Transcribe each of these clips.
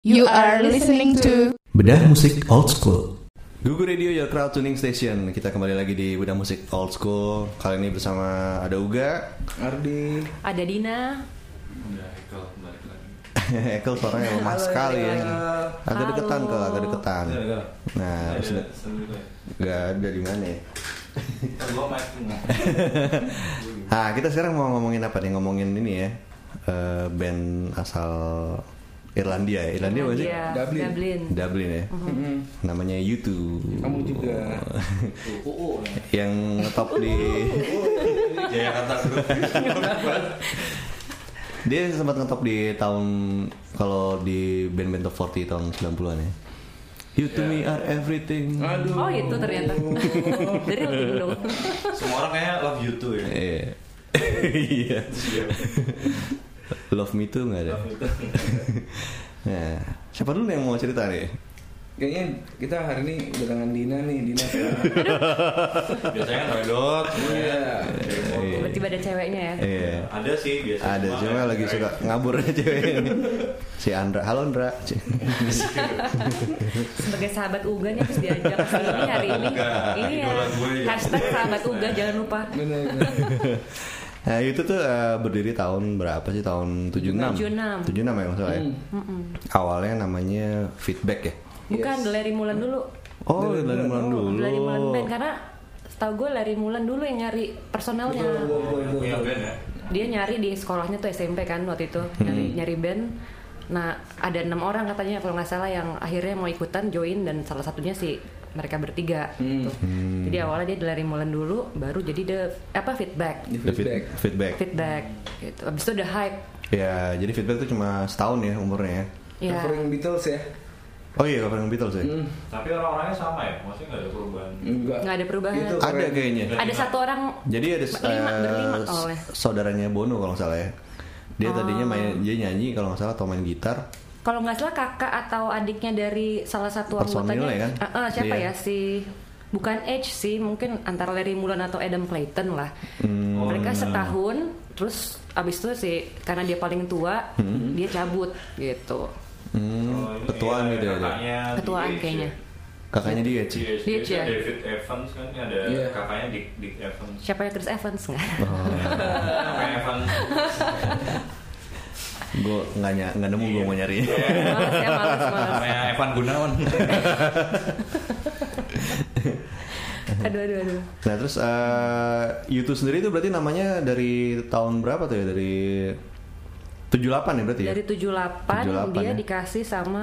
You are listening to Bedah musik old school. Gugu Radio Your Crowd Tuning Station. Kita kembali lagi di Budak Musik Old School. Kali ini bersama ada Uga, Ardi, Ada Dina. Ekel suaranya lemah sekali ya. Agak deketan ke, agak deketan. Nah, habis itu- nggak ada di mana ya? Nah, kita sekarang mau ngomongin apa nih? Ngomongin ini ya. eh, band asal Irlandia ya. Irlandia apa sih? Dia, Dublin. Dublin. Dublin ya. Namanya YouTube. Kamu juga. yang ngetop di dia sempat ngetop di tahun kalau di band-band top 40 tahun 90-an ya. You to me are everything. Aduh. Oh itu ternyata. Dari Lutfi dong. Semua orang kayaknya love you too ya. Iya. Iya. Love me too nggak ada. nah, siapa dulu yang mau cerita nih? Kayaknya kita hari ini udah dengan Dina nih, Dina. Biasanya kan dot. Iya. Tiba-tiba ada ceweknya ya. Iya. Ada sih biasanya. Ada Cuma cuma kayak- lagi suka ngabur aja cewek ini. Si Andra, halo Andra. Sebagai sahabat Uga nih harus diajak ke sini hari ini. Uga, Ini ya. idola gue ya. Hashtag sahabat Uga jangan lupa. Benar. benar. Nah itu tuh eh, berdiri tahun berapa sih? Tahun 76. 76 76 ya maksudnya ya? Awalnya namanya Feedback ya? Bukan Larry Mulan dulu. Oh dari Mulan dulu Larry Mulan band karena setahu gue Larry Mulan dulu yang nyari personelnya. Iya, Punya band ya. Dia nyari di sekolahnya tuh SMP kan waktu itu nyari nyari band. Nah ada enam orang katanya kalau nggak salah yang akhirnya mau ikutan join dan salah satunya si mereka bertiga. gitu. Jadi awalnya dia Larry Mulan dulu, baru jadi the apa feedback. Di The Feed- feedback. Feedback feedback gitu. Abis itu udah hype. Ya jadi Feedback tuh cuma setahun ya umurnya ya Ya. Covering Beatles ya. Oh iya covering Beatles ya? Hmm. Tapi orang-orangnya sama ya. Maksudnya nggak ada perubahan. Enggak. Nggak ada perubahan. Itu Ada keren. kayaknya Ada satu orang Jadi ada eh, berlima, berlima kalau nggak- saudaranya Bono kalau nggak salah ya Dia tadinya main, dia nyanyi kalau nggak salah atau main gitar kalau nggak salah kakak atau adiknya dari salah satu Personil ya kan? Ah, ah, siapa ya Iya. si bukan Edge sih, mungkin antara Larry Mullen atau Adam Clayton lah. Hmm. Mereka setahun, terus abis itu sih karena dia paling tua, dia cabut gitu. Oh, Hmm, ini ketuaan ada gitu ya dia. kakaknya Ketuaan Dick Gates kayaknya. Kakaknya dia ya. sih Dick Dick Gates kan ya. David Evans kan ada Iya. kakaknya Dick, Dick Evans. Siapa ya Chris Evans nggak? Oh. Kakak Evans. Gue nggak ny- nggak nemu gue mau nyari Males ya, males, males. Namanya Evan Gunawan. Aduh, aduh, aduh. Nah terus eh YouTube sendiri itu berarti namanya dari tahun berapa tuh ya? Dari 78 ya berarti ya? Dari 78, 78 dia ya. dikasih sama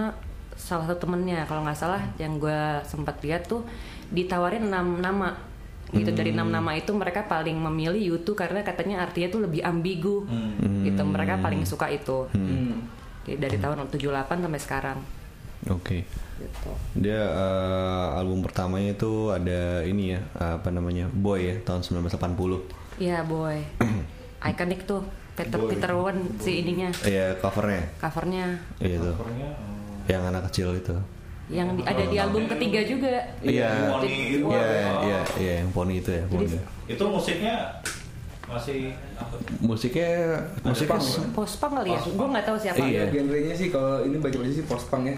salah satu temennya kalau nggak salah Hmm. yang gue sempat lihat tuh ditawarin enam nama gitu dari enam Hmm. nama itu mereka paling memilih Yutu karena katanya artinya tuh lebih ambigu Hmm. gitu mereka paling suka itu Hmm. Jadi dari tahun 78 sampai sekarang Oke. gitu Dia eh, album pertamanya itu ada ini ya, apa namanya? Boy ya, tahun 1980. ya boy ikonik tuh Peter Peter Wan si ininya Iya, covernya. covernya Iya itu. Yang anak kecil itu. yang di- ada di album ketiga juga Iya. Pony gitu. Iya, iya, iya, yang poni itu ya, poni. Itu musiknya masih apa? Musiknya musiknya punk, se- post punk kali ya gue nggak tahu siapa Iya. Hmm. Genrenya sih kalau ini baca-baca sih post punk ya.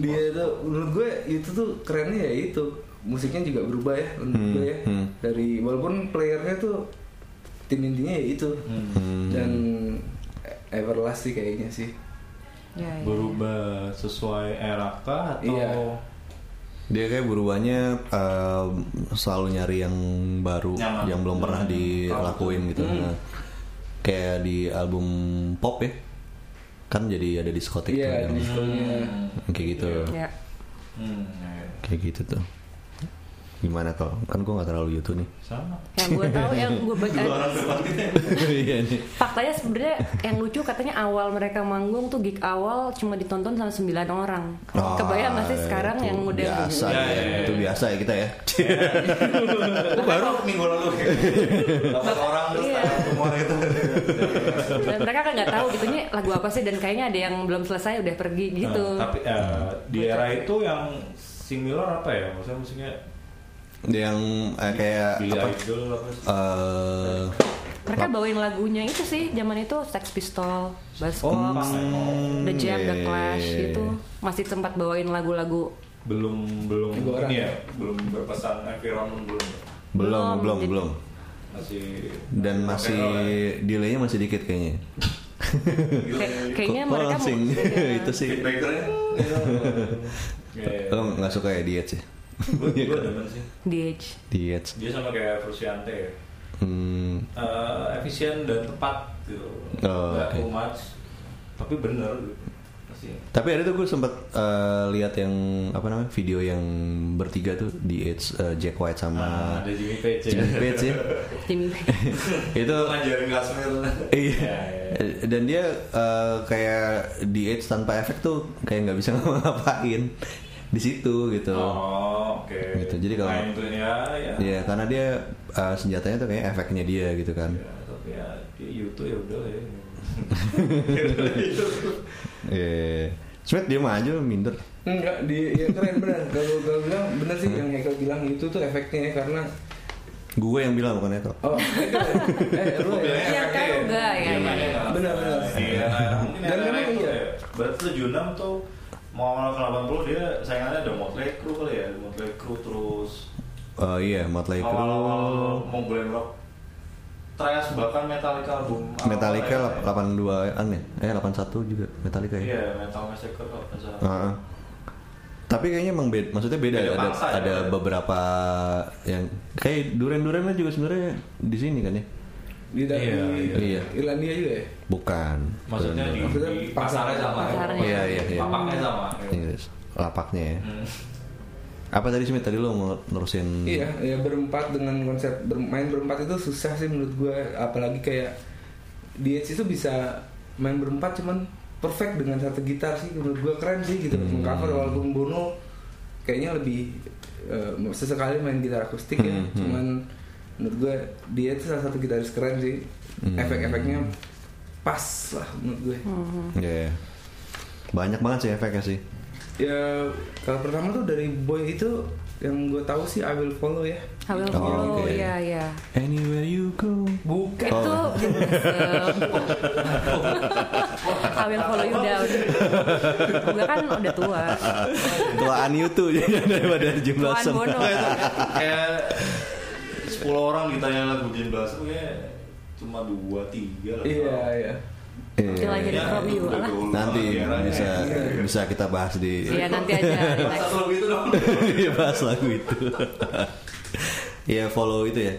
Dia tuh menurut gue itu tuh kerennya ya itu. Musiknya juga berubah ya menurut gue ya. hmm. Dari walaupun playernya tuh tim intinya ya itu. Hmm. Dan everlasting kayaknya sih. Ya, ya. Berubah sesuai era kah atau Iya. dia kayak berubahnya eh, selalu nyari yang baru Nyaman. yang belum pernah Hmm. dilakuin gitu Nah, kayak di album pop ya kan jadi ada diskotik tuh Iya, yang- Hmm. diskonnya. kayak gitu ya. Hmm, ya. kayak gitu tuh gimana kok kan gue nggak terlalu gitu nih sama. yang gue tahu yang gue baca iya nih faktanya sebenarnya yang lucu katanya awal mereka manggung tuh gig awal cuma ditonton sama 9 orang kebayang nggak sih Ah, sekarang itu yang udah biasa ya, Ya, ya, ya. itu biasa ya kita ya baru minggu lalu dapat orang terus Iya. tanya semua itu dan mereka kan nggak tahu gitunya lagu apa sih dan kayaknya ada yang belum selesai udah pergi gitu Nah, Ah, tapi eh, di era itu yang similar apa ya maksudnya musiknya yang eh, kayak Billy apa Idol apa sih eh mereka bawain lagunya itu sih zaman itu Sex Pistol, Oh, Buzzcocks, Hmm, The Jam, The iya, Clash iya, iya. itu masih sempat bawain lalagu-lagu belum belum Tiga orang. ini ya belum berpesan environment belum ya? belum Belum, belum jadi- belum masih dan masih ya? delaynya masih dikit kayaknya Gitu. Kay- kayaknya Kok mereka langsing? mau itu sih Backbreaker-nya. Iya. Kayak- lo nggak suka ya diet sih Gua- gua demen sih. Diej. diet sih. Dia sama kayak Frusciante ya. hmm, Eh, efisien dan tepat gitu. Oh, Nggak oke. too much, tapi bener gitu. Masih. Tapi ada tuh gue sempet eh, lihat yang apa namanya video yang bertiga tuh di Edge eh, Jack White Ah, sama ada Jimmy Page. Jimmy Page ya. Jimmy itu ngajarin Kasmir. iya. Ya, ya. Dan dia eh, kayak di Edge tanpa efek tuh kayak nggak bisa ngapain di situ gitu. Oh, oke. Gitu, jadi kalau- Main tuh ya, ya. Iya, karena dia eh, senjatanya tuh kayak efeknya dia gitu kan. Ya, tapi ya dia YouTube ya udah lah ya. Gitu. Iya. Smith dia mah aja minder. Enggak, di ya keren bener. Kalau gue bilang bener sih yang Eka bilang itu tuh efeknya ya karena Gue yang bilang bukan itu. oh Eka, eh lu ya. Iya, kan enggak, ya, Iya, iya. makanya. Benar-benar. Iya, mungkin Dan ada memang itu iya. ya. Berarti tuh Junam tuh mau ke 80 dia saingannya ada Motley Crue kali ya, ada Motley Crue terus Oh iya, Motley Crue. awal-awal mau glam rock Thrash bahkan Metallica album awal Metallica ya. 82 an ya? Eh 81 juga Metallica ya. Iya, Metal Massacre kalau nggak salah. Heeh. Tapi kayaknya emang beda, maksudnya beda, Beda ada bangsa ya, ada beda. beberapa yang kayak duren-durennya juga sebenarnya di sini kan ya? di dari Iya, iya. Irlandia juga ya. Bukan. Maksudnya di, Maksudnya di pasarnya sama. ya. pasarnya. Iya, iya, iya. Papaknya sama. ya. Inggris. Iya, Lapaknya ya. Hmm. Apa tadi Smith tadi lo mau nerusin? Iya, ya berempat dengan konsep bermain berempat itu susah sih menurut gue, apalagi kayak di Edge itu bisa main berempat cuman perfect dengan satu gitar sih menurut gue keren sih gitu Hmm. mengcover walaupun Bono kayaknya lebih eh, sesekali main gitar akustik ya, Hmm, hmm. cuman menurut gue dia itu salah satu gitaris keren sih, Hmm. efek-efeknya pas lah menurut gue. Iya. Banyak banget sih efeknya sih. Ya kalau pertama tuh dari Boy itu yang gue tahu sih I Will Follow ya. I Will Oh, Follow, oke. Oh. iya iya. Anywhere you go. Bukan. Itu I Will Follow You Down. Gue kan udah tua. Tuaan YouTube daripada Jim Tuan Blossom. Bono. kayak 10 orang ditanya lagu Jim Blossom ya cuma 2 3 lah. Iya iya. Till I Hear Iya. Ya, It From You. Alah. Nanti bisa Iya. bisa kita bahas di Iya nanti aja. relax. Satu lagu itu Nah, gitu dong. Iya bahas lagu itu. Iya follow itu ya.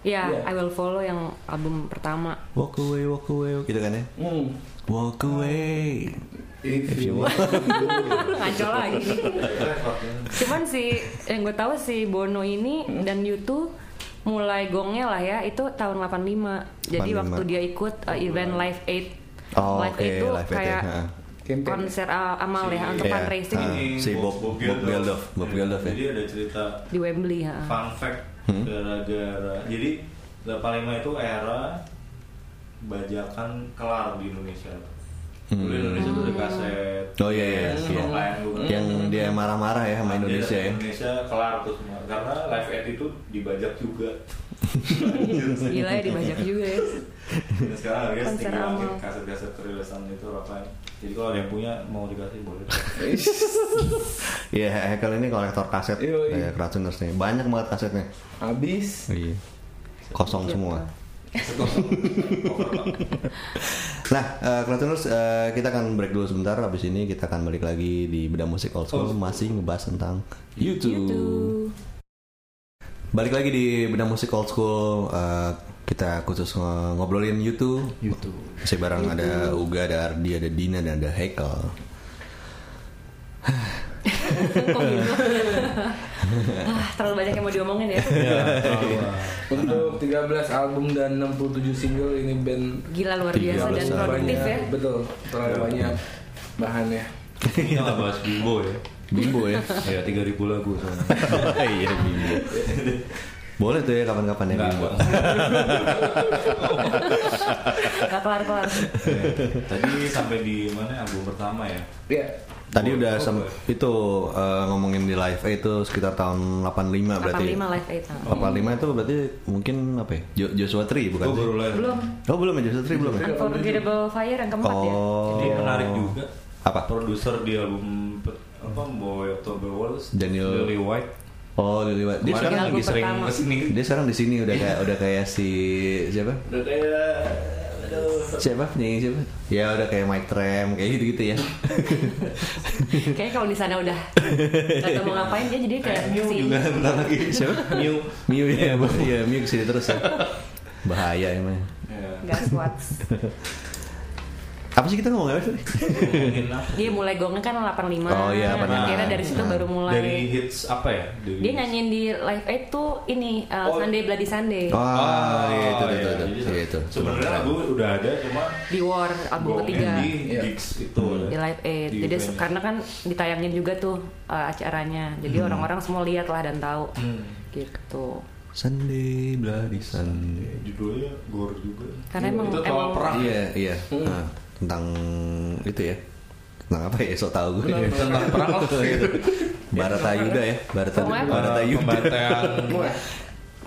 Iya, Iya. I Will Follow yang album pertama. Walk away, walk away, walk- gitu kan ya? Hmm. Walk away. If If you you want. Ngaco lagi. Cuman si yang gue tahu si Bono ini Hmm? dan YouTube mulai gongnya lah ya itu tahun 85. Jadi 85. waktu dia ikut uh, event Live Aid. Oh, Live oke, Aid itu Live Aid ya, kayak ha. Campaign. konser uh, amal ya untuk Iya, fundraising ha. Ini Iya, si Bob- Bob Geldof. Bob Geldof ya. Jadi ada cerita di Wembley ya. fun fact Hmm. gara-gara jadi 85 itu era bajakan kelar di Indonesia. Dulu Hmm. Indonesia tuh ada kaset. Oh iya iya. kaset iya. online dulu. Yang dia marah-marah ya sama Jadi Indonesia ya. Indonesia kelar tuh semua karena Live Aid itu dibajak juga. Gila ya dibajak juga ya. Dan sekarang harganya Konser setinggi langit amal. kaset-kaset rilisan itu rapain. Jadi kalau ada yang punya mau dikasih boleh. Iya, Hekel ini kolektor kaset Yoi. kayak Kratuners nih. Banyak banget kasetnya. Habis. Iya. Kosong Gitu. semua. Itu cover banget. Nah, eh Kratuners eh, kita akan break dulu sebentar. Habis ini kita akan balik lagi di Beda Musik Old School Old School. masih ngebahas tentang Gitu. YouTube. YouTube. Balik lagi di Benda Musik Old School eh, Kita khusus nge- ngobrolin YouTube YouTube Masih bareng ada Uga, ada Ardi, ada Dina, dan ada Hekel Kok gitu? Ah, terlalu banyak yang mau diomongin ya. Iya. Iya. Untuk 13 album dan 67 single ini band Gila luar Iya, biasa dan 13 produktif banyak, ya. Iya. Betul, terlalu banyak bahannya. Kita nggak bahas bimbo ya. Bimbo ya Ya 3000 lagu soalnya. Iya Bimbo Boleh tuh ya kapan-kapan ya Enggak, Bimbo Bang. Gak kelar-kelar. Tadi sampai di mana album pertama ya? Ya, Tadi udah sem- itu eh, ngomongin di live eh, itu sekitar tahun 85 berarti. ya. 85 live itu. 85 itu berarti mungkin apa ya? Jo- Joshua Tree bukan? Gue sih? baru live. Belum. Oh belum ya Joshua Tree belum ya? Unforgettable Fire yang keempat ya. Oh. Jadi menarik juga. Apa? Produser di album pe- apa Boy October Walls Daniel- Lily White. Oh Lily White. Dia Kemarin sekarang album lagi sering pertama. kesini. dia sekarang di sini udah kayak udah kayak si siapa? Udah kayak aduh. Siapa penyanyi siapa? Ya udah kayak Mike Tram kayak gitu-gitu ya. Kayaknya kalau di sana udah nggak tahu mau ngapain dia jadi kayak Kayak Mew si juga bentar lagi. Siapa? Mew. Miu ya, iya Miu kesini terus ya. Bahaya emang. Ya. gas watts. Apa sih kita ngomong apa sih? Ngomongin apa? Dia mulai gongnya kan 85. Oh, iya, 85. Akhirnya dari situ baru mulai. Dari hits apa ya? Dari Dia nyanyiin di live aid tuh ini uh, Oh. Sunday Bloody Sunday Wah, Ah, itu itu iya. itu. Jadi, Iya, itu. Sebenarnya lagu udah ada cuma di War album bawain ketiga Hmm. di Iya. gigs itu. di live aid. Di Jadi event. karena kan ditayangin juga tuh uh, acaranya. Jadi orang-orang semua lihat lah dan tahu. Gitu. Sunday bloody Sunday. Judulnya gore juga. Karena Itu emang- itu emang- soal perang. Iya, iya. Nah, tentang itu ya. Tentang apa ya? Sok tahu Iya, gue. Tentang perang Oh, lah. Gitu. Baratayuda ya, Barata Pokoknya- Baratayuda. Pembantaian. Iya,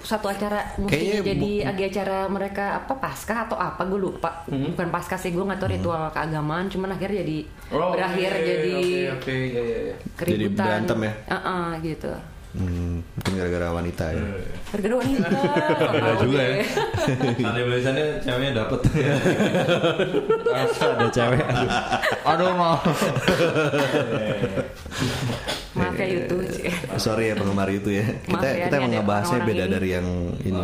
satu acara mungkin Kayaknya jadi bu- agi acara mereka apa paskah atau apa gue lupa bukan paskah sih gue nggak tahu ritual keagamaan cuman akhirnya jadi Oh, berakhir oke, jadi oke oke ya ya ya. keributan Jadi berantem ya? Uh-uh, gitu Hmm, mungkin gara-gara wanita ya. bergerak wanita Ada Tahu gitu. juga deh. ya. Tanda biasanya ceweknya dapet. ada cewek aduh mau maaf ya itu Sorry ya penggemar itu ya. Maaf Kita ya, kita ini emang ada ngebahasnya orang-orang beda ini. dari yang ini.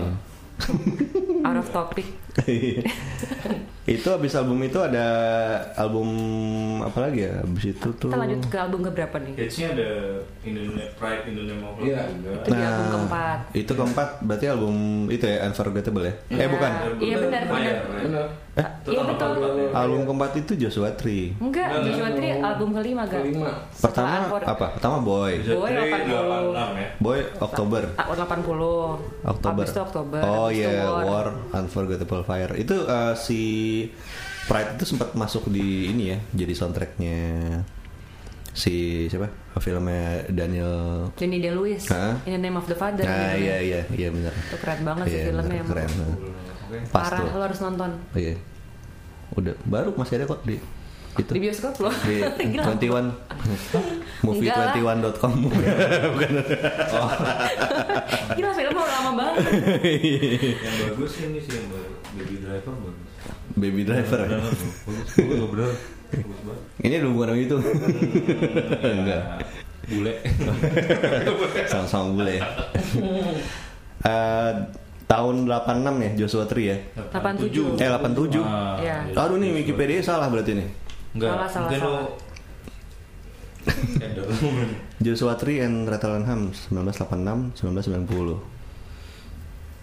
out of topic itu habis album itu ada album apa lagi ya? Habis itu tuh kita lanjut ke album keberapa nih Hitsnya ada Indonesia Pride Indonesia Mall Iya. juga. Itu di album keempat. Itu keempat berarti album itu ya Unforgettable ya? Eh bukan. iya benar benar Benar. Eh? Itu iya tahun betul keempat ya. Album keempat itu Joshua Tree. enggak Enggak, Joshua enggak. Tree album kelima gak Kelima. Pertama apa? Pertama Boy. Bisa Boy, tri, 80. 86 ya. Boy Oktober. tahun 80 Oktober. Habis itu Oktober Oh habis itu iya, War. War. Unforgettable Fire. Itu eh, si Pride itu sempat masuk di ini ya, jadi soundtracknya si siapa? Filmnya Daniel. Jenny De Lewis Hah? In the Name of the Father gitu. Nah, iya iya iya benar. Itu keren banget sih Iya, filmnya benar, emang. keren. Oke. Pas Parah tuh. lo harus nonton Iya. Udah baru masih ada kok di itu. di bioskop lo. di Gila. 21 Enggak lah. movie21.com Gila filmnya udah lama banget. Yang bagus sih ini sih yang baru. Baby Driver bagus. Baby Driver. ya? Bener, Bagus. Bagus bener. Bagus banget. Ini ada hubungan sama itu. Enggak. Bule. Sama-sama bule ya. Eh, tahun 86 ya Joshua Tree ya. 87. Eh 87. Ah, Iya. Aduh nih Wikipedia salah berarti nih. Enggak. Salah, salah, mungkin lo- salah. Endor. Joshua Tree and Rattle and Hum 1986 1990.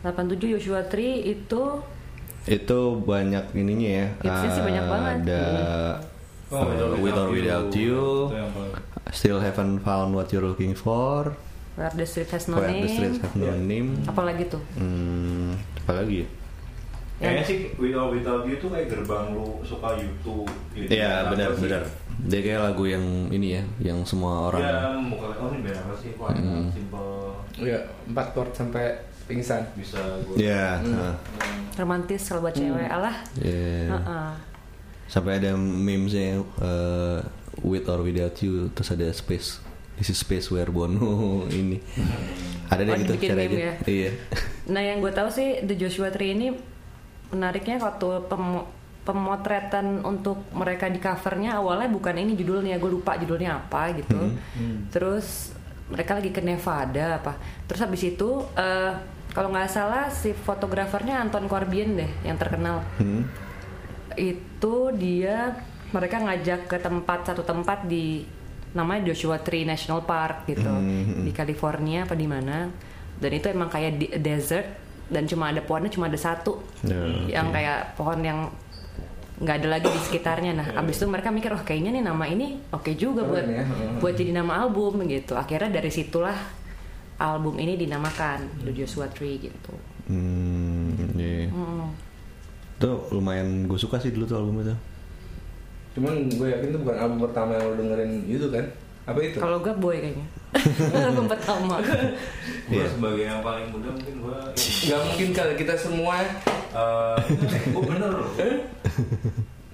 87 Joshua Tree itu Itu banyak ininya ya. Hitsnya sih banyak Eh, banget. Ada Oh, eh, With or Without You, Itu yang bagus. Still Haven't Found What You're Looking For, Where the Street Has No Where the Streets Name. Have No Name. Apalagi tuh. Hmm, apa lagi ya? Kayaknya sih With or Without You tuh kayak gerbang lu suka YouTube. gitu. Iya Apa benar sih? benar. Dia kayak lagu yang ini ya, yang semua orang. Mm-hmm. Dia muka oh ini band apa sih? Kok ada simple Iya, empat chord sampai pingsan. bisa gue. Iya. nah, Romantis kalau buat cewek. Alah. Hmm. iya. Heeh. Sampai ada memesnya eh, with or without you, terus ada space. This is space where Bono ini. Ada deh Oh, gitu dibikin meme ya? Iya. Nah yang gue tahu sih The Joshua Tree ini menariknya waktu pem- pemotretan untuk mereka di covernya awalnya bukan ini judulnya gue lupa judulnya apa gitu. Terus mereka lagi ke Nevada apa. Terus habis itu eh, kalau nggak salah si fotografernya Anton Corbijn deh yang terkenal. Itu dia mereka ngajak ke tempat satu tempat di namanya Joshua Tree National Park gitu Hmm, di California apa di mana dan itu emang kayak di desert dan cuma ada pohonnya cuma ada satu Ya, yang kayak pohon yang nggak ada lagi di sekitarnya nah abis itu mereka mikir wah kayaknya nih nama ini oke juga Ya, Keren buat ya, heeh. buat jadi nama album gitu akhirnya dari situlah album ini dinamakan The Joshua Tree gitu Hmm, iya. Mm. Itu lumayan gue suka sih dulu tuh album itu. Cuman gue yakin itu bukan album pertama yang lo dengerin itu kan? Apa itu? Kalau gue boy kayaknya. Album pertama. Gue Iya. sebagai yang paling muda mungkin gue Gak mungkin kali kita semua ya. Eh, gue bener loh.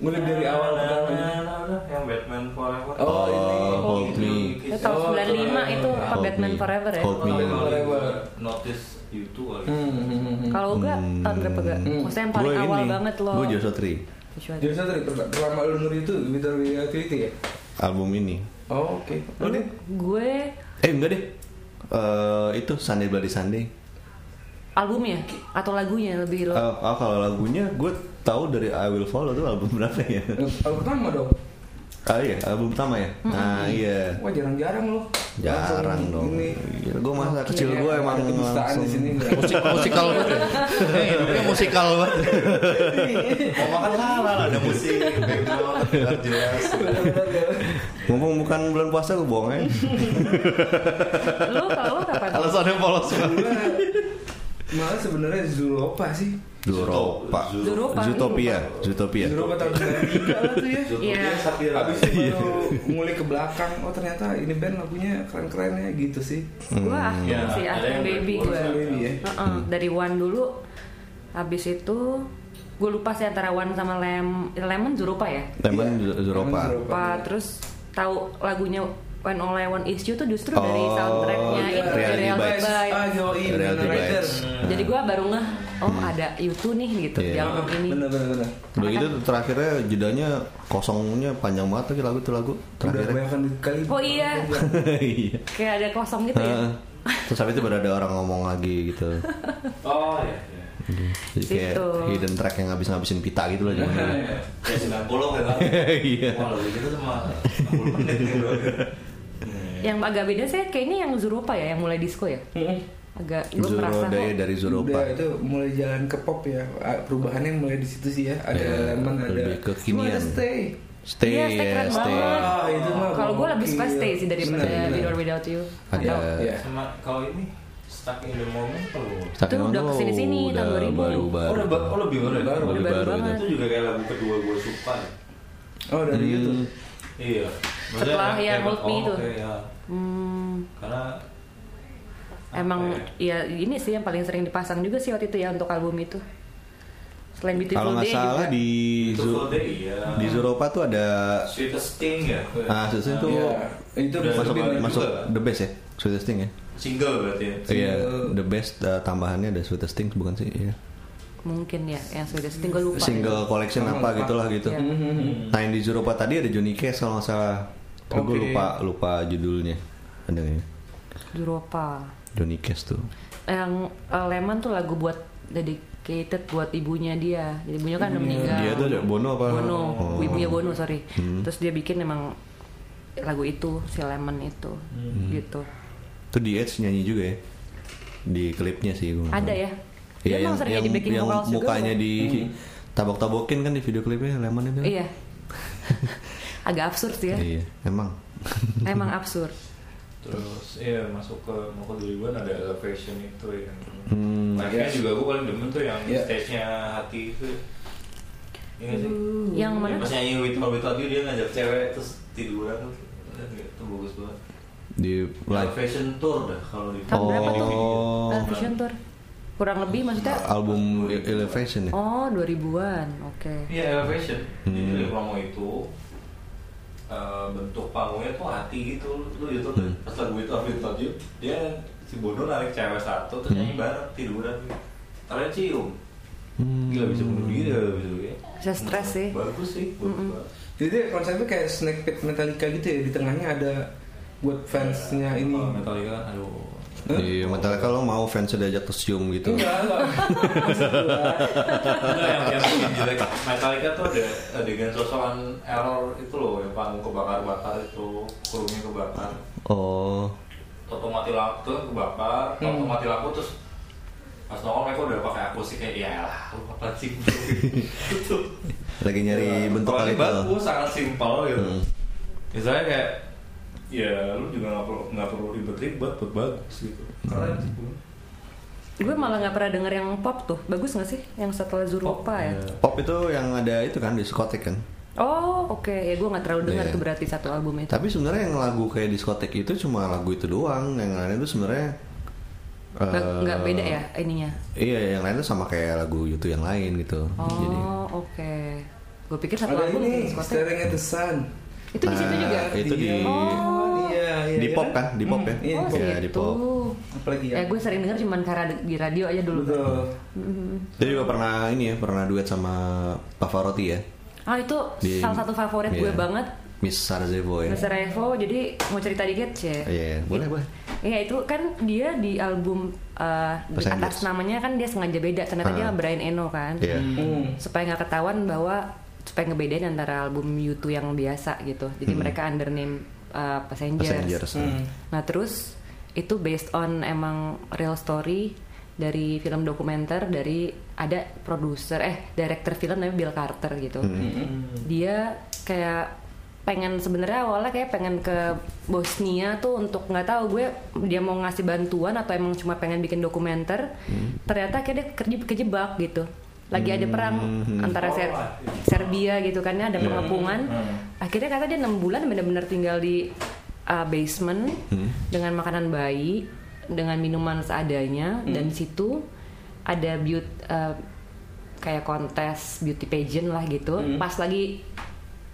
mulai Nah. dari awal pertama. yang Batman Forever. Oh, ini. Hold Gitu, Me. Itu kisah. tahun Oh, 95 itu apa Hold Batman Me. Forever ya? Hold Me. Kalau Batman gue Forever. notice itu kali. Hmm, hmm, hmm, hmm. Kalau eh, gue tahun berapa gak? Maksudnya yang paling awal banget loh. Gue Joshua Tree. Joshua Jadi saya tadi per- pertama lo denger itu With the Reality ya? Album ini. Oh, oke. Lo Lu- Dit? gue Eh enggak deh. Eh itu Sunday Bloody Sunday. albumnya atau lagunya lebih lo. Eh, ah, kalau lagunya gue tahu dari I Will Follow itu album berapa ya? Album pertama dong. ah iya, album pertama ya. Nah iya. Wah jarang-jarang lo. Jarang Langsung dong. Ini. gue masa kecil Iya, gue ada emang kedustaan langsung. di sini. musik musikal banget ya. Eh, hidupnya musikal banget Mau makan halal ada musik background jelas jelas. Mumpung bukan bulan puasa gue bohong eh. aja. Lu kalau lo kapan? alasannya polos banget Gua malah sebenarnya Zulopa sih. Duropa. Zuropa. Zootopia. Zootopia. Zulopa tahun 93 lah tuh ya. Iya. Sapira. Abis Iya. itu baru ngulik ke belakang, oh ternyata ini band lagunya keren-keren ya gitu sih. Gue Ya, akhirnya sih, ada akhirnya yang baby Black gue. Forest, Baby ya. Heeh, dari One dulu habis itu gue lupa sih antara One sama Lem Lemon Zuropa ya Lemon Iya, Zu- Zuropa. Lemon Zuropa. Lupa terus tahu lagunya When All I Want Is You tuh justru Oh, dari soundtracknya iya, itu dari Reality Reality Bites. Bites. Ah, yoi, bener Reality Rider. Bites. jadi gue baru ngeh oh ada U2 nih gitu Iya. di album ini Bener bener bener. Udah gitu terakhirnya jedanya kosongnya panjang banget lagi lagu itu lagu Udah terakhirnya. kebanyakan duit kali. Oh, iya. Iya. kayak ada kosong gitu ya Heeh. Terus habis itu baru ada orang ngomong lagi gitu. Oh iya. iya. Jadi kayak Situ. hidden track yang ngabis-ngabisin pita gitu loh. Iya, jadinya. iya. Ya 90 kan. Iya. Wah, lebih kita cuma 60 menit gitu. nih, bro. yang agak beda saya kayaknya yang Zuropa ya yang mulai disco ya Mm-mm. agak gue Zuro merasa Daya kok dari Zuropa. Udah itu mulai jalan ke pop ya. Ah, Perubahannya mulai di situ sih ya. Ada Iya, elemen ada lebih kekinian. Cuma ada stay. Stay, Iya, stay keren banget. Ah, itu mah kalau gue lebih suka gokil. stay sih daripada Bener, bener. With or Without You Ada Atau- Iya. Sama kalau ini stuck in the moment tuh. Stuck in Itu udah Mono, kesini-sini, udah tahun 2000. baru-baru. Oh, udah ba- oh, lebih baru ya? Baru, lebih baru baru, banget. Itu juga kayak lagu kedua gue suka. ya. Oh dari Hmm. YouTube. Iya. Setelah kayak- yang kayak- Hold Me oh, itu. oke, ya. hmm, Karena emang Apa ya ini sih yang paling sering dipasang juga sih waktu itu ya untuk album itu selain Beautiful Kalau nggak Day salah juga di Beautiful Zu- Day iya. di Zuropa tuh ada Sweetest Thing ya. ah sesuatu tuh Iya. Itu Udah masuk Bener juga. masuk the best ya sweetest thing ya Single berarti ya. iya the best uh, tambahannya ada sweetest thing bukan sih Iya. mungkin ya yang sudah single lupa ya. single collection apa gitulah gitu Iya. Hmm, nah yang di Zuropa tadi ada Johnny Cash kalau nggak salah Tapi gue Oke. lupa lupa judulnya ada nggak ya Duropa Johnny Cash tuh yang uh, Lemon tuh lagu buat dedicated buat ibunya dia jadi ibunya kan udah meninggal dia tuh ada Bono apa Bono Oh. Hmm. ibunya Bono sorry terus dia bikin emang lagu itu si Lemon itu Hmm. gitu tuh di Edge nyanyi juga ya di klipnya sih gua nggak ada tahu. ya dia emang sering di backing Iya, yang vocals juga mukanya bukan? di Hmm. tabok-tabokin kan di video klipnya lemon itu kan? iya agak absurd sih ya Iya, emang emang absurd Terus iya masuk ke mau ke 2000-an ada Elevation itu ya. yang Hmm. Live-nya Yes. juga gue paling demen tuh yang Iya. stage-nya hati itu. Iya nggak sih? Hmm. yang mana Iya, Pas nyanyi With All With All You, dia ngajak cewek terus tiduran tuh. Lihat nggak? Itu bagus banget. di live Elevation Tour dah kalau di Tahun berapa tuh? Oh. Ah, Elevation Eh, Tour kurang lebih maksudnya album Elevation ya. oh 2000-an oke Iya elevation. Jadi Hmm. dari promo itu eh, bentuk panggungnya tuh hati gitu lu itu Hmm. pas lagu itu Afif Taju dia si Bono narik cewek satu terus nyanyi Hmm. bareng tiduran gitu. Ternyata cium. Hmm. Gila bisa Hmm. bunuh diri ya bisa ya. Bisa stres sih. Bagus sih. bagus banget. Jadi konsepnya kayak snack pit Metallica gitu ya di tengahnya ada buat fansnya ini. Oh. Kalau Metallica aduh. Iya, Metallica lo mau fans udah ajak ke cium gitu. Iya. Enggak, enggak. Maksud gua, Enggak yang yang bikin jelek Metallica tuh ada adegan sosokan error itu loh yang panggung kebakar-bakar itu kurungnya kebakar. Oh, Toto mati lampu tuh kan kebakar, Hmm. Toto mati lampu terus pas nongol mereka udah pakai akustik kayak ya lah lu apa sih Gitu. lagi nyari bentuk Kalau kali itu. bagus Iya. sangat simpel gitu Hmm. misalnya kayak ya lu juga nggak perlu nggak perlu ribet-ribet buat bagus gitu keren Hmm. sih Bu. gue malah nggak pernah denger iya. yang pop tuh bagus nggak sih yang setelah Zuropa ya Pop itu yang ada itu kan diskotik kan. Oh oke ya gue nggak terlalu dengar Iya. tuh berarti satu album itu. Tapi sebenarnya yang lagu kayak diskotek itu cuma lagu itu doang. Yang lainnya itu sebenarnya Nggak eh, nggak beda ya ininya. Iya, yang lainnya sama kayak lagu itu yang lain gitu. Oh Jadi oke. Gue pikir satu Ada album ini diskotek. Staring at the Sun. Itu di situ Nah, juga. Itu di Oh, iya, iya, di iya pop kan, di pop ya. iya, oh di pop. Iya, gitu. di pop. Apalagi ya. Ya gue sering dengar cuman karena di radio aja dulu. kan. Betul. Dia juga pernah ini ya, pernah duet sama Pavarotti ya. Ah itu Di- salah satu favorit gue Iya. banget. Miss Sarajevo ya. Mr. Iya. Evo, jadi mau cerita dikit sih. Iya, boleh, boleh. Iya itu kan dia di album eh, di Los Angeles. atas namanya kan dia sengaja beda ternyata dia Ah. Brian Eno kan Iya. Hmm. supaya nggak ketahuan bahwa supaya ngebedain antara album U2 yang biasa gitu jadi mereka under name eh, Passengers. Passengers. Iya. Hmm. Nah terus itu based on emang real story dari film dokumenter dari ada produser eh director film namanya Bill Carter gitu. Dia kayak pengen sebenarnya awalnya kayak pengen ke Bosnia tuh untuk nggak tahu gue dia mau ngasih bantuan atau emang cuma pengen bikin dokumenter. Ternyata kayak dia kerje- kejebak gitu. Lagi ada perang antara Ser- Serbia gitu kan ya ada pengepungan. Akhirnya kata dia 6 bulan bener-bener tinggal di uh, basement dengan makanan bayi, dengan minuman seadanya dan di situ ada ah, beauty kayak kontes beauty pageant lah gitu. Hmm. Pas lagi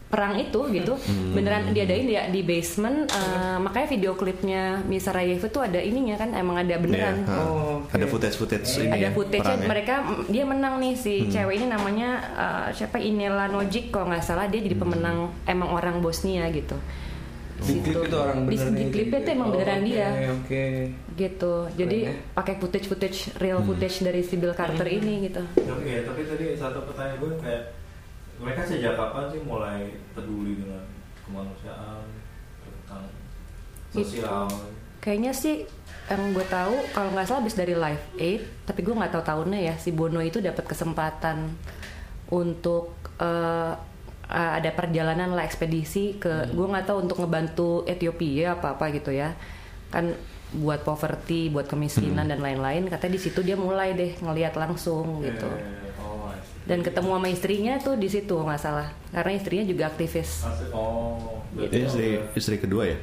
perang itu gitu beneran diadain ya di basement uh, makanya video klipnya Misa Rayev itu ada ininya kan emang ada Iya, beneran ha. Oh, oke. Ada footage-footage ini ada ya, footage perangnya. mereka m- dia menang nih si Hmm. cewek ini namanya uh, siapa Inela Nojic kalau nggak salah dia jadi pemenang emang orang Bosnia gitu Hmm. Di klip itu orang Di- beneran di dia klipnya itu gitu. emang beneran Oke, dia. Oke. gitu Keren jadi ya. Hmm. pakai footage footage real footage dari si Bill Carter ini gitu Tapi ya, tapi tadi satu pertanyaan gue kayak mereka sejak kapan sih mulai peduli dengan kemanusiaan tentang sosial? kayaknya sih yang gue tahu kalau nggak salah habis dari Live Aid tapi gue nggak tahu tahunnya ya si Bono itu dapat kesempatan untuk eh, eh, ada perjalanan lah ekspedisi ke Hmm. gue nggak tahu untuk ngebantu Ethiopia apa apa gitu ya kan buat poverty buat kemiskinan Hmm. dan lain-lain katanya di situ dia mulai deh ngelihat langsung Iya, gitu Eh, oh, I see. dan ketemu sama istrinya tuh di situ kalau nggak salah karena istrinya juga aktivis Asik. Oh, berarti Ini istri, istri kedua ya?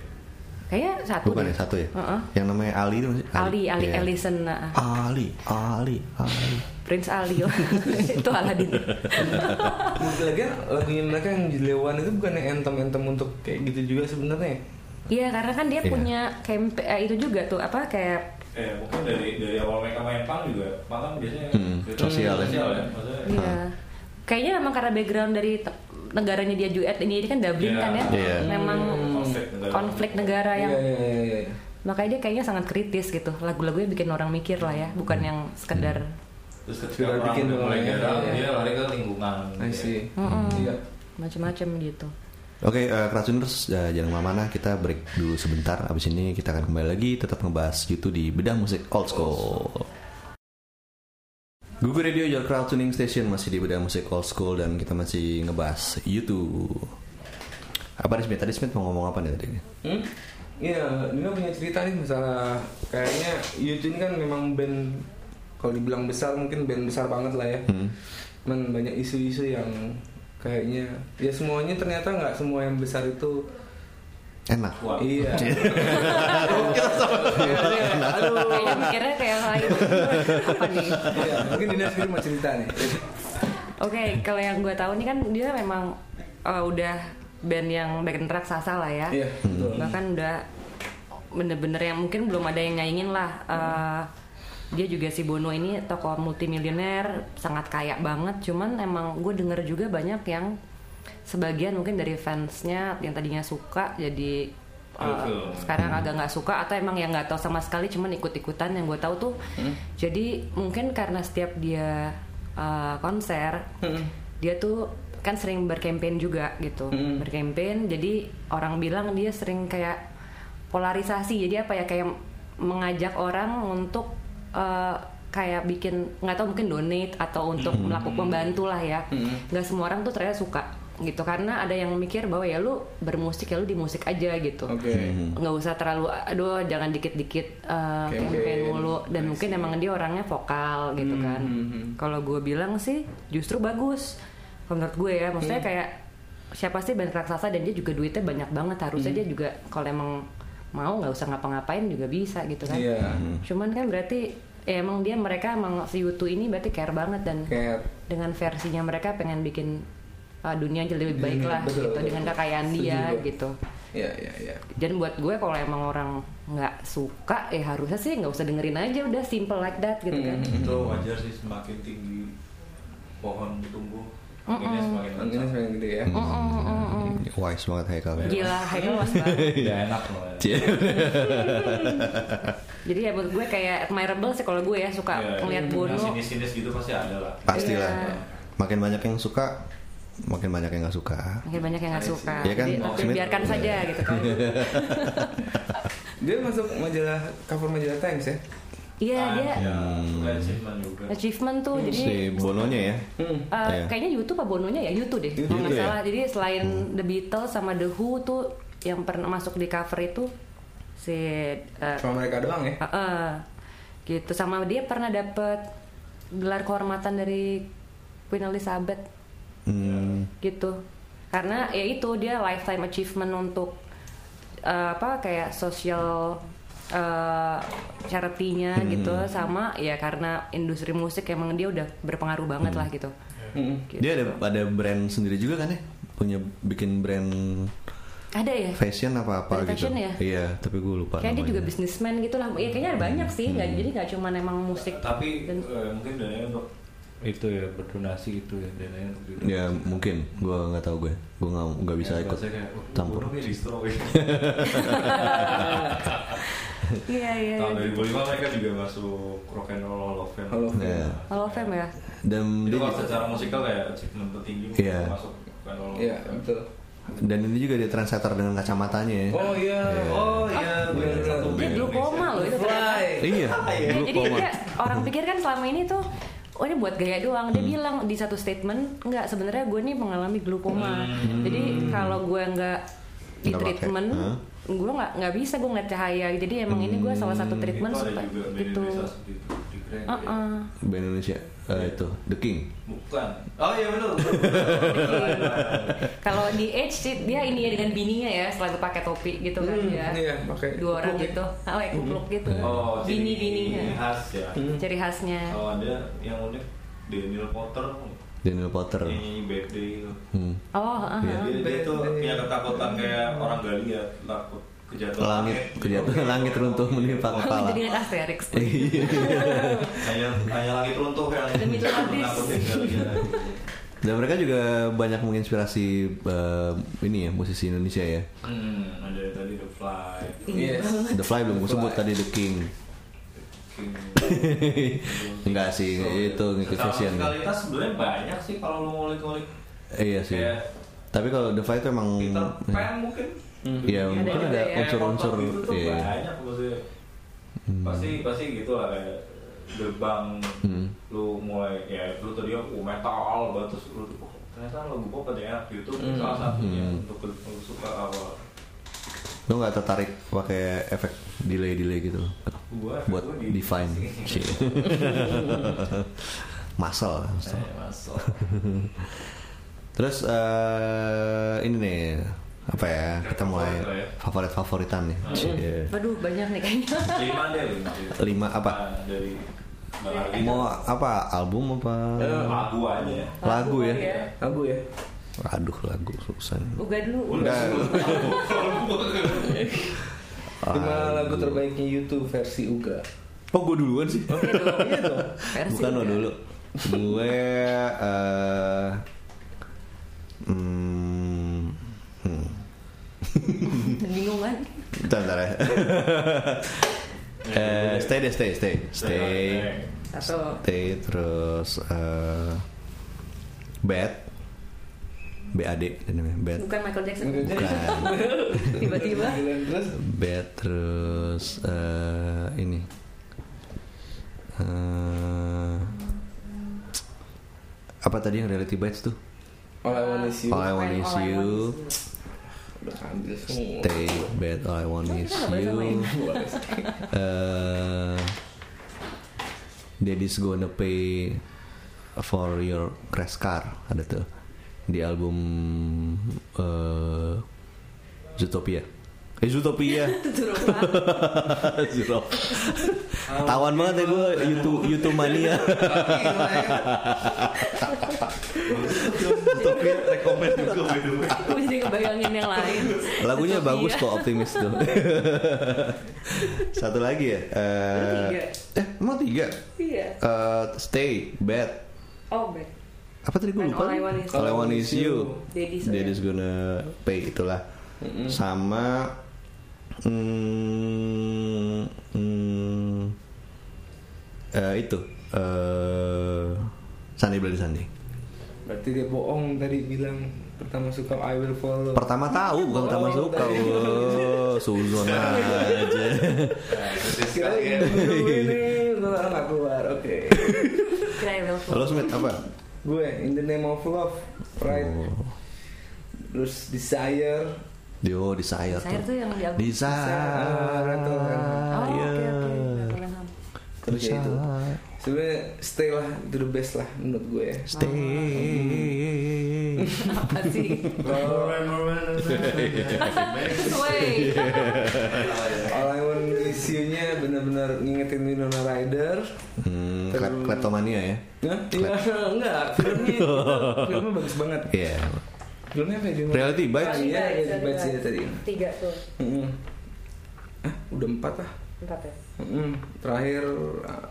kayaknya gitu. satu Bukan deh. ya, satu ya? Heeh. Yang namanya Ali itu masih- Ali Ali Iya. Ellison nah. Ali, Ali, Ali. Prince Ali oh. itu Aladin. Lagian lagunya mereka yang di Lewan itu bukan yang entem-entem untuk kayak gitu juga sebenarnya. ya? Iya karena kan dia Iya. punya camp eh, itu juga tuh apa kayak Eh, mungkin dari dari awal mereka main pang juga, pang kan biasanya Hmm, gitu, sosial ya. ya, maksudnya. iya kayaknya memang karena background dari te- negaranya dia juga ini ini kan Dublin Iya. kan ya Iya. memang Konflik negara. konflik negara Iya yang iya iya, iya. iya. makanya dia kayaknya sangat kritis gitu lagu-lagunya bikin orang mikir lah ya bukan Hmm. yang sekedar Terus Sudah ketika orang bikin udah mulai doang, ya. garam, Iya. dia lari ke lingkungan. I see. Iya. macam-macam gitu Oke, eh, Krasuners, eh, jangan kemana-mana. Kita break dulu sebentar. Abis ini kita akan kembali lagi tetap ngebahas YouTube di bedah musik old school. Google Radio Your Crowd Tuning Station masih di bedah musik old school dan kita masih ngebahas YouTube. Apa Smith? Tadi Smith mau ngomong apa nih tadi? Hmm? Iya, Dino punya cerita nih masalah kayaknya YouTube ini kan memang band kalau dibilang besar mungkin band besar banget lah ya. Cuman banyak isu-isu yang kayaknya ya semuanya ternyata nggak semua yang besar itu Enak. Wah, iya. Iya, iya. Aduh. kayaknya mikirnya kayak yang lain apa nih Iya, mungkin Dino sendiri mau cerita nih. Oke, kalau yang gue tahu nih kan dia memang eh, udah band yang background raksasa lah ya. Iya, betul. Bahkan udah bener-bener yang mungkin belum ada yang nyaingin lah. Eh, dia juga si Bono ini tokoh multimilioner, sangat kaya banget. Cuman emang gue denger juga banyak yang sebagian mungkin dari fansnya yang tadinya suka jadi eh, Betul. sekarang agak nggak suka atau emang yang nggak tahu sama sekali cuman ikut-ikutan yang gue tahu tuh jadi mungkin karena setiap dia uh, konser dia tuh kan sering berkampanye juga gitu berkampanye jadi orang bilang dia sering kayak polarisasi jadi apa ya kayak mengajak orang untuk uh, kayak bikin nggak tahu mungkin donate atau untuk melakukan membantu lah ya nggak semua orang tuh ternyata suka gitu karena ada yang mikir bahwa ya lu bermusik ya lu di musik aja gitu Oke. nggak usah terlalu aduh jangan dikit-dikit uh, Campaign. campaign mulu dan I mungkin see. emang dia orangnya vokal gitu kan Hmm, hmm, hmm. Hmm. kalau gue bilang sih justru bagus Kalau menurut gue ya maksudnya kayak siapa sih band raksasa dan dia juga duitnya banyak banget harusnya Hmm. dia juga kalau emang mau nggak usah ngapa-ngapain juga bisa gitu kan Iya. cuman kan berarti ya emang dia mereka emang si Yutu ini berarti care banget dan Kayak dengan versinya mereka pengen bikin uh, dunia jadi lebih baik Dunia, lah Hmm, betul, gitu betul. dengan kekayaan Setuju dia gua. gitu ya ya ya. dan buat gue kalau emang orang nggak suka ya harusnya sih nggak usah dengerin aja udah simple like that gitu kan Mm. itu wajar sih semakin tinggi pohon tumbuh anginnya semakin Ini kencang semakin gede ya. Mm, mm, mm, mm. Mm-hmm. Wise banget Haikal. gila Haikal luas banget tidak enak loh ya. jadi ya buat gue kayak admirable sih kalau gue ya suka Ya, ngeliat yang Bono sinis-sinis gitu pasti ada lah Pastilah. Iya. Makin banyak yang suka, makin banyak yang nggak suka. makin banyak yang nggak suka Iya kan, Jadi, tapi Smith? biarkan saja gitu kan Dia masuk majalah cover majalah Times ya. iya dia ya, suka achievement juga achievement tuh jadi Si Bononya ya. Hmm. Eh, Hmm, Iya. Kayaknya YouTube apa Bononya ya YouTube deh, YouTube kalau nggak ya? Hmm. salah. Jadi selain The Beatles sama The Who tuh yang pernah masuk di cover itu si eh, Cuma mereka doang ya. eh, eh, gitu sama dia pernah dapet gelar kehormatan dari Queen Elizabeth Hmm. gitu. Karena ya itu dia lifetime achievement untuk eh, apa kayak social eh charity-nya Hmm. gitu sama ya karena industri musik emang dia udah berpengaruh banget lah gitu. Hmm. Gitu. Dia ada ada brand sendiri juga kan ya? Punya bikin brand Ada ya? fashion apa apa Brand gitu. fashion ya? Iya, tapi gue lupa. Kayaknya dia juga namanya. bisnismen gitu lah. Ya kayaknya ada banyak sih. nggak jadi nggak cuma emang musik. tapi Dan- eh, mungkin dananya untuk itu ya berdonasi itu Ya, ya dananya untuk diri Ya mungkin, gue nggak tahu gue, gue nggak nggak bisa ikut "Oh, campur. Iya iya. Tahun 2005 mereka juga masuk rock and roll hall of fame. Hall of Fame. Iya. Hall of Fame ya. Dan dia Itu kalau juga- secara musikal kayak achievement tertinggi Iya. mungkin masuk kan rock and roll hall Iya of fame. betul. dan ini juga dia trendsetter dengan kacamatanya ya. Oh iya. Oh iya. Bener satu Kan Dia band. glukoma loh itu. ternyata. Fly. Iya, Ya, dulu jadi koma. dia, orang pikir kan selama ini tuh Oh ini buat gaya doang. Hmm. Dia bilang di satu statement, nggak sebenarnya gue nih mengalami glukoma. Hmm. Jadi kalau gue nggak di Nggak pakai. treatment, Hah? gue nggak nggak bisa gue ngeliat cahaya. Jadi emang ini gue salah satu treatment Hmm. Itu ada supaya juga band gitu. Indonesia seperti itu, di Grand Uh-uh. ya. Band Indonesia eh, itu The King. Bukan. Oh iya benar. Kalau di Edge sih, dia ini ya dengan bininya ya selalu pakai topi gitu kan Hmm, ya. iya, pakai Dua orang kupluk ya. gitu. Oh, ya, kupluk gitu. Oh, jadi Bini-bininya. Hmm. khas ya. Hmm. Ciri khasnya. Oh. Kalau ada yang unik Daniel Potter Daniel Potter. yang nyanyi Bad Day itu. Hmm. Oh, ah, Iya. Dia, dia tuh punya ketakutan kayak orang Galia takut kejatuhan. Langit kejatuhan langit runtuh menimpa ah. kepala. jadi dengan Asterix. Iya. Hanya hanya langit runtuh yang Demi Tuhan, Dis. menakutin Galia. Dan mereka juga banyak menginspirasi eh, ini ya musisi Indonesia ya. Hmm, ada yang tadi The Fly. Yes. The Fly belum gue sebut tadi The King. King. Enggak sih, Iya, itu kan. ngikut Sama fashion. musikalitas sebenarnya banyak sih kalau lo ngulik-ngulik. Iya sih. Kayak Tapi kalau The Fly itu emang Peter Pan mungkin. Hmm. Iya, Kayak mungkin gitu ada ya, unsur-unsur motor gitu tuh iya. banyak maksudnya. Pasti pasti gitu lah kayak gerbang Hmm. lu mulai ya lu tadi aku metal banget terus lu tuh, oh, ternyata lagu pop ada yang enak gitu Hmm. salah satunya untuk lu lu suka apa Lo nggak tertarik pakai efek delay-delay gitu gua buat gua di- define. Iya. sih. Muscle. Eh, masuk Terus eh, ini nih apa ya Oh. kita mulai Favorit lah ya. favorit favoritan nih. Cie. Aduh, banyak nih kayaknya. lima deh lima Lima apa? Nah, dari Bang Ardi. Mau apa album apa lagu aja lagu Oh, ya? Aku ya. Aduh lagu susah. nih. iya. Uga dulu. udah Nah. Lima lagu terbaiknya YouTube versi Uga. Oh gue duluan sih. Iya dong. Versi Bukan lo Uga. dulu. Gue eh, hmm, hmm. Bingung kan? Bentar, bentar ya. Eh, stay deh, stay, stay, stay, Satu. stay. Terus eh, bad, bad, ini namanya bad, Bukan Michael Jackson. bukan. Tiba-tiba. Terus bed terus eh, ini Eh, apa tadi yang reality bites tuh All I Want Is You. All I Want Is All I You Want Udah ambil semua. Stay Bad All I Want Oh, Is kita nggak boleh You Boleh. eh Daddy's Gonna Pay For Your Crash Car ada tuh di album eh, Zootopia. Eh Zootopia. Zootop. Tawan banget ya gue YouTube YouTube mania. Zootopia rekomend juga by the way. Aku jadi kebayangin yang lain. Lagunya Tapi bagus iya. kok optimis tuh. Satu lagi ya. Ada Eh, tiga. eh emang tiga. Iya. Eh, stay bad. Oh, baik. Apa tadi gue And lupa? Kan All I Want Is All I You. Want Is You. Daddy's Daddy's gonna pay itulah. Sama. Hmm, hmm, eh, itu. eh Sunday Bloody Sunday. Berarti dia bohong tadi bilang pertama suka I will follow. Pertama tahu bukan pertama Oh, suka. tadi. Oh, suzon aja. Kira ini gue nggak keluar. Oke. Kira I will Lo fall. Smith apa? gue in the name of love, pride, Oh. terus desire, Yo, Desire. Saya tuh yang di album. Desire. Oh, oke oke. Nggak Desire. pernah paham. Oke, itu. sebenarnya stay lah itu the best lah menurut gue. ya. Stay. Apa sih? Wait. All I want is you-nya benar-benar ngingetin Winona Ryder. Hmm, klep- kleptomania ya. Hah? Iya, enggak, filmnya, filmnya bagus banget. Iya. Filmnya apa ya? Jum? Reality Ah, bites. Iya, reality bites ya tadi. Tiga tuh, Mm-mm. Ah, udah empat lah. empat ya. Mm-mm. Terakhir ah,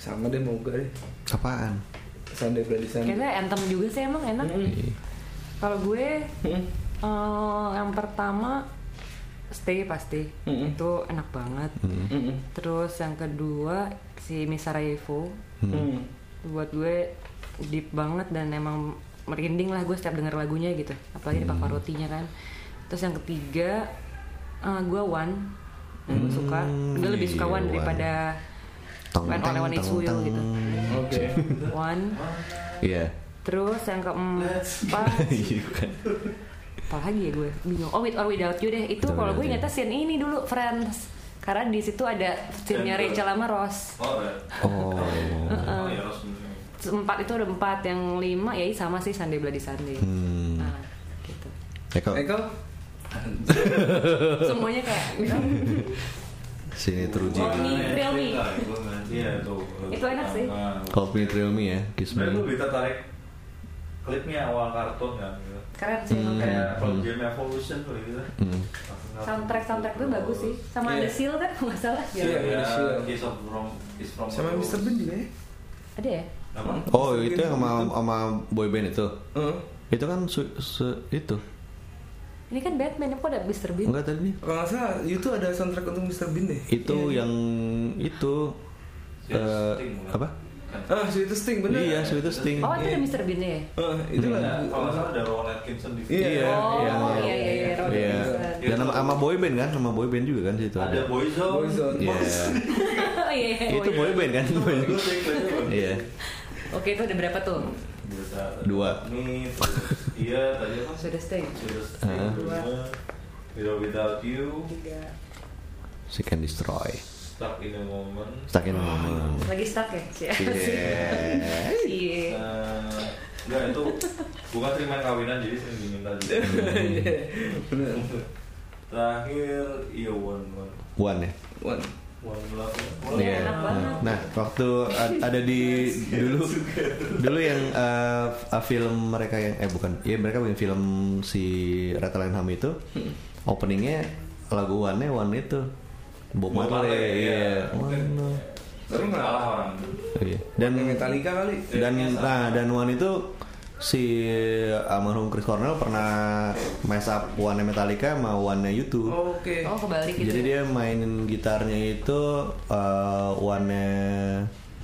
sama deh moga deh. Apaan? Sunday Bloody Sunday. Kayaknya anthem juga sih emang enak. Iya. Kalau gue eh, yang pertama Stay pasti Mm-mm. itu enak banget. Mm-mm. Terus yang kedua si Misarayevo Mm. buat gue deep banget dan emang merinding lah gue setiap denger lagunya gitu. Apalagi di Pavarotti-nya kan. Terus yang ketiga eh, gue One yang gue suka. Gue lebih suka iya, One One. daripada Tong When All I Want teng, Is tong, You teng. gitu. Oke. One. Iya. Terus yang keempat Iya, bukan. apalagi ya gue bingung oh with or without you deh itu Without kalau gue You. ingetnya scene ini dulu friends karena di situ ada scene-nya Chandler. Rachel sama Ross Oh, ya. Oh. Oh, ya, harus begini. empat itu ada empat yang lima ya sama sih Sunday Bloody Sunday Hmm. nah gitu Eko, Eko, semuanya kayak gitu. sini teruji. Oh, ini real me. Iya, tuh. Itu enak sih. Nah, Call me, thrill me ya, kiss me. Sebenarnya tuh bisa tarik klipnya awal kartun kan. gitu. keren sih Hmm. emang keren. Kayak From Game Evolution tuh gitu. Hmm. soundtrack soundtrack gue bagus sih sama Iya. The Seal kan kalau nggak salah ya Iya. Iya, Iya. Kiss of From Kiss from sama the Mr. Rose. Bean Eh, juga ya. ada ya Apa? Oh, itu yang sama sama boy band itu. Heeh. Itu kan su- su- itu. ini kan Batman kok ada Mr. Bean Enggak tadi. Kalau nggak salah, itu ada soundtrack untuk Mr. Bean deh. Itu Iya. yang itu Iya, eh, Sting, bukan? apa? Bukan. Ah, Sweetest Thing bener. Iya, sweetest thing. oh itu ada Mr. Bean ya Ah, itu Iya, lagu. Kalau nggak salah ada Rowan Atkinson di Iya. video. oh Iya, iya iya iya Robert Iya. Wilson. Dan sama, sama boy band kan, sama boy band juga kan situ Ada Boyzone. Boyzone. Iya. Oh, iya iya Itu iya. boy band kan. Itu bagus sih, klipnya bagus. Iya. oke itu ada berapa tuh Biasa. Dua. Ini, terus Iya, tadi apa sih? sudah stay Sudah Sting, Ah. dua. Without- Without You, She can destroy. Stuck in a Moment, Stuck in a moment. lagi stuck ya sih Yeah. Iya. Eh, enggak itu bukan sering main kawinan jadi sering diminta juga. Bener. Terakhir iya one one One ya. One. one love. Iya, enak banget. Nah, waktu ad- ada di dulu dulu yang eh, f- eh, film mereka yang eh bukan, ya mereka bikin film si Rata Lanham itu openingnya lagu One One itu Bob Bob Marley. Marley, iya. Iya. One Love. Tapi nggak kalah orang. Iya. Dan Yang Metallica kali. dan nah dan Wan itu si almarhum Chris Cornell pernah mess up one Metallica sama one YouTube. Oke. Oh kebalik gitu. Jadi dia mainin gitarnya itu eh one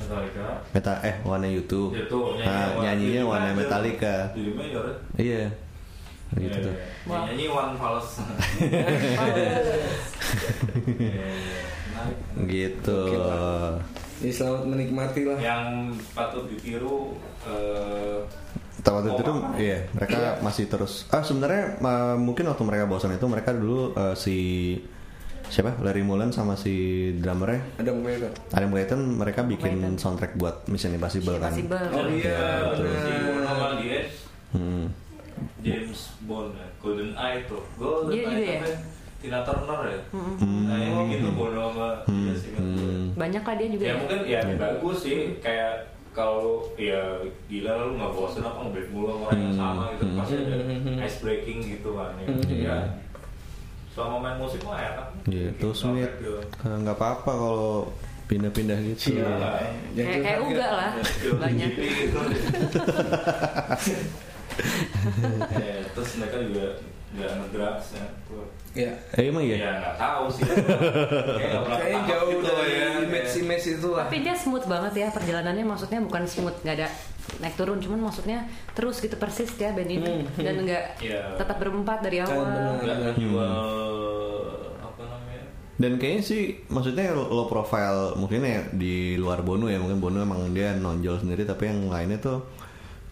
Metallica. Ya, meta eh one YouTube. Itu Nah, nyanyinya one Metallica. Judulnya ya Red. Iya. Gitu Iya, tuh. iya. Wah. Nyanyi one False. Oh. Kan. Iya, iya. Menarik. Gitu. Ya, selamat menikmati lah. Yang patut ditiru eh, Tapi waktu itu Oh, apa? iya, mereka masih terus. Ah sebenarnya eh, mungkin waktu mereka bosan itu mereka dulu eh, si siapa Larry Mullen sama si drummernya Adam Clayton. Adam Clayton mereka bikin Clayton. soundtrack buat Mission Impossible kan. Possible. Oh iya, Terus bener. si Wono Mandies, Hmm. James Bond ya, Golden Eye tuh. Golden Iya, Eye gitu ya? apa Tina Turner ya. Hmm. Nah yang bikin tuh Bono sama Jessica Simpson. Hmm. Banyak lah dia juga. Iya ya. kan. Ya mungkin ya Iya. bagus sih kayak kalau ya gila lu nggak bosen apa ngebet mulu sama orang yang sama gitu Hmm. pasti ada Hmm. ice breaking gitu kan ya. Hmm. Ya, Selama main musik mah enak. Iya, Bikin terus Smith soundtrack gitu. eh, nggak apa-apa kalau pindah-pindah gitu. Iya. Yang Kayak kayak curhat uga lah Skill banyak. tinggi gitu. Ya, terus mereka juga nggak ngedrugs ya. ya Eh, emang Ya ya? nggak tahu sih. Kayak nggak pernah kayaknya ketangkap jauh gitu dari ya. image-image itu lah Tapi dia smooth banget ya perjalanannya maksudnya bukan smooth nggak ada naik turun cuman maksudnya terus gitu persis ya band ini dan nggak Iya. tetap berempat dari Hmm, Kan, awal. benar. Nggak Hmm. menjual apa namanya Dan kayaknya sih maksudnya low profile mungkin ya di luar Bono ya mungkin Bono emang dia nonjol sendiri tapi yang lainnya tuh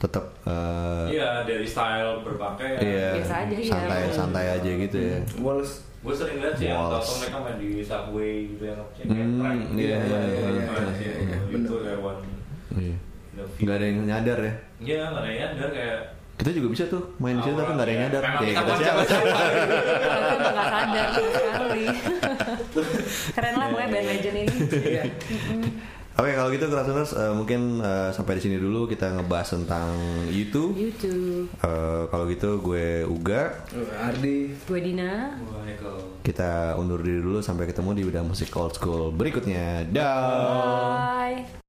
tetap eh, Iya dari style berpakaian. iya, Biasa aja, iya. Hmm. santai santai aja gitu ya. Wallace Gue sering lihat sih yang Walls. atau mereka main di subway gitu yang kayak gitu ya. Hmm, prank. iya, iya, iya, iya, iya, iya. Itu Bener. lewat. Iya. the feed. Nggak ada yang nyadar ya. Iya nggak ada yang nyadar kayak. Kita juga bisa tuh main di situ tapi nggak ada yang nyadar. Memang Kayak kita kita kan siapa? siapa-siapa. Mereka udah nggak sadar sama sekali. Keren lah pokoknya band legend ini. Iya. Oke kalau gitu Krasuners eh, mungkin eh, sampai di sini dulu kita ngebahas tentang YouTube. YouTube, Eh, kalau gitu gue Uga Ardi gue Dina. Wah, Michael. kita undur diri dulu sampai ketemu di udah musik old school berikutnya. Dah. Bye.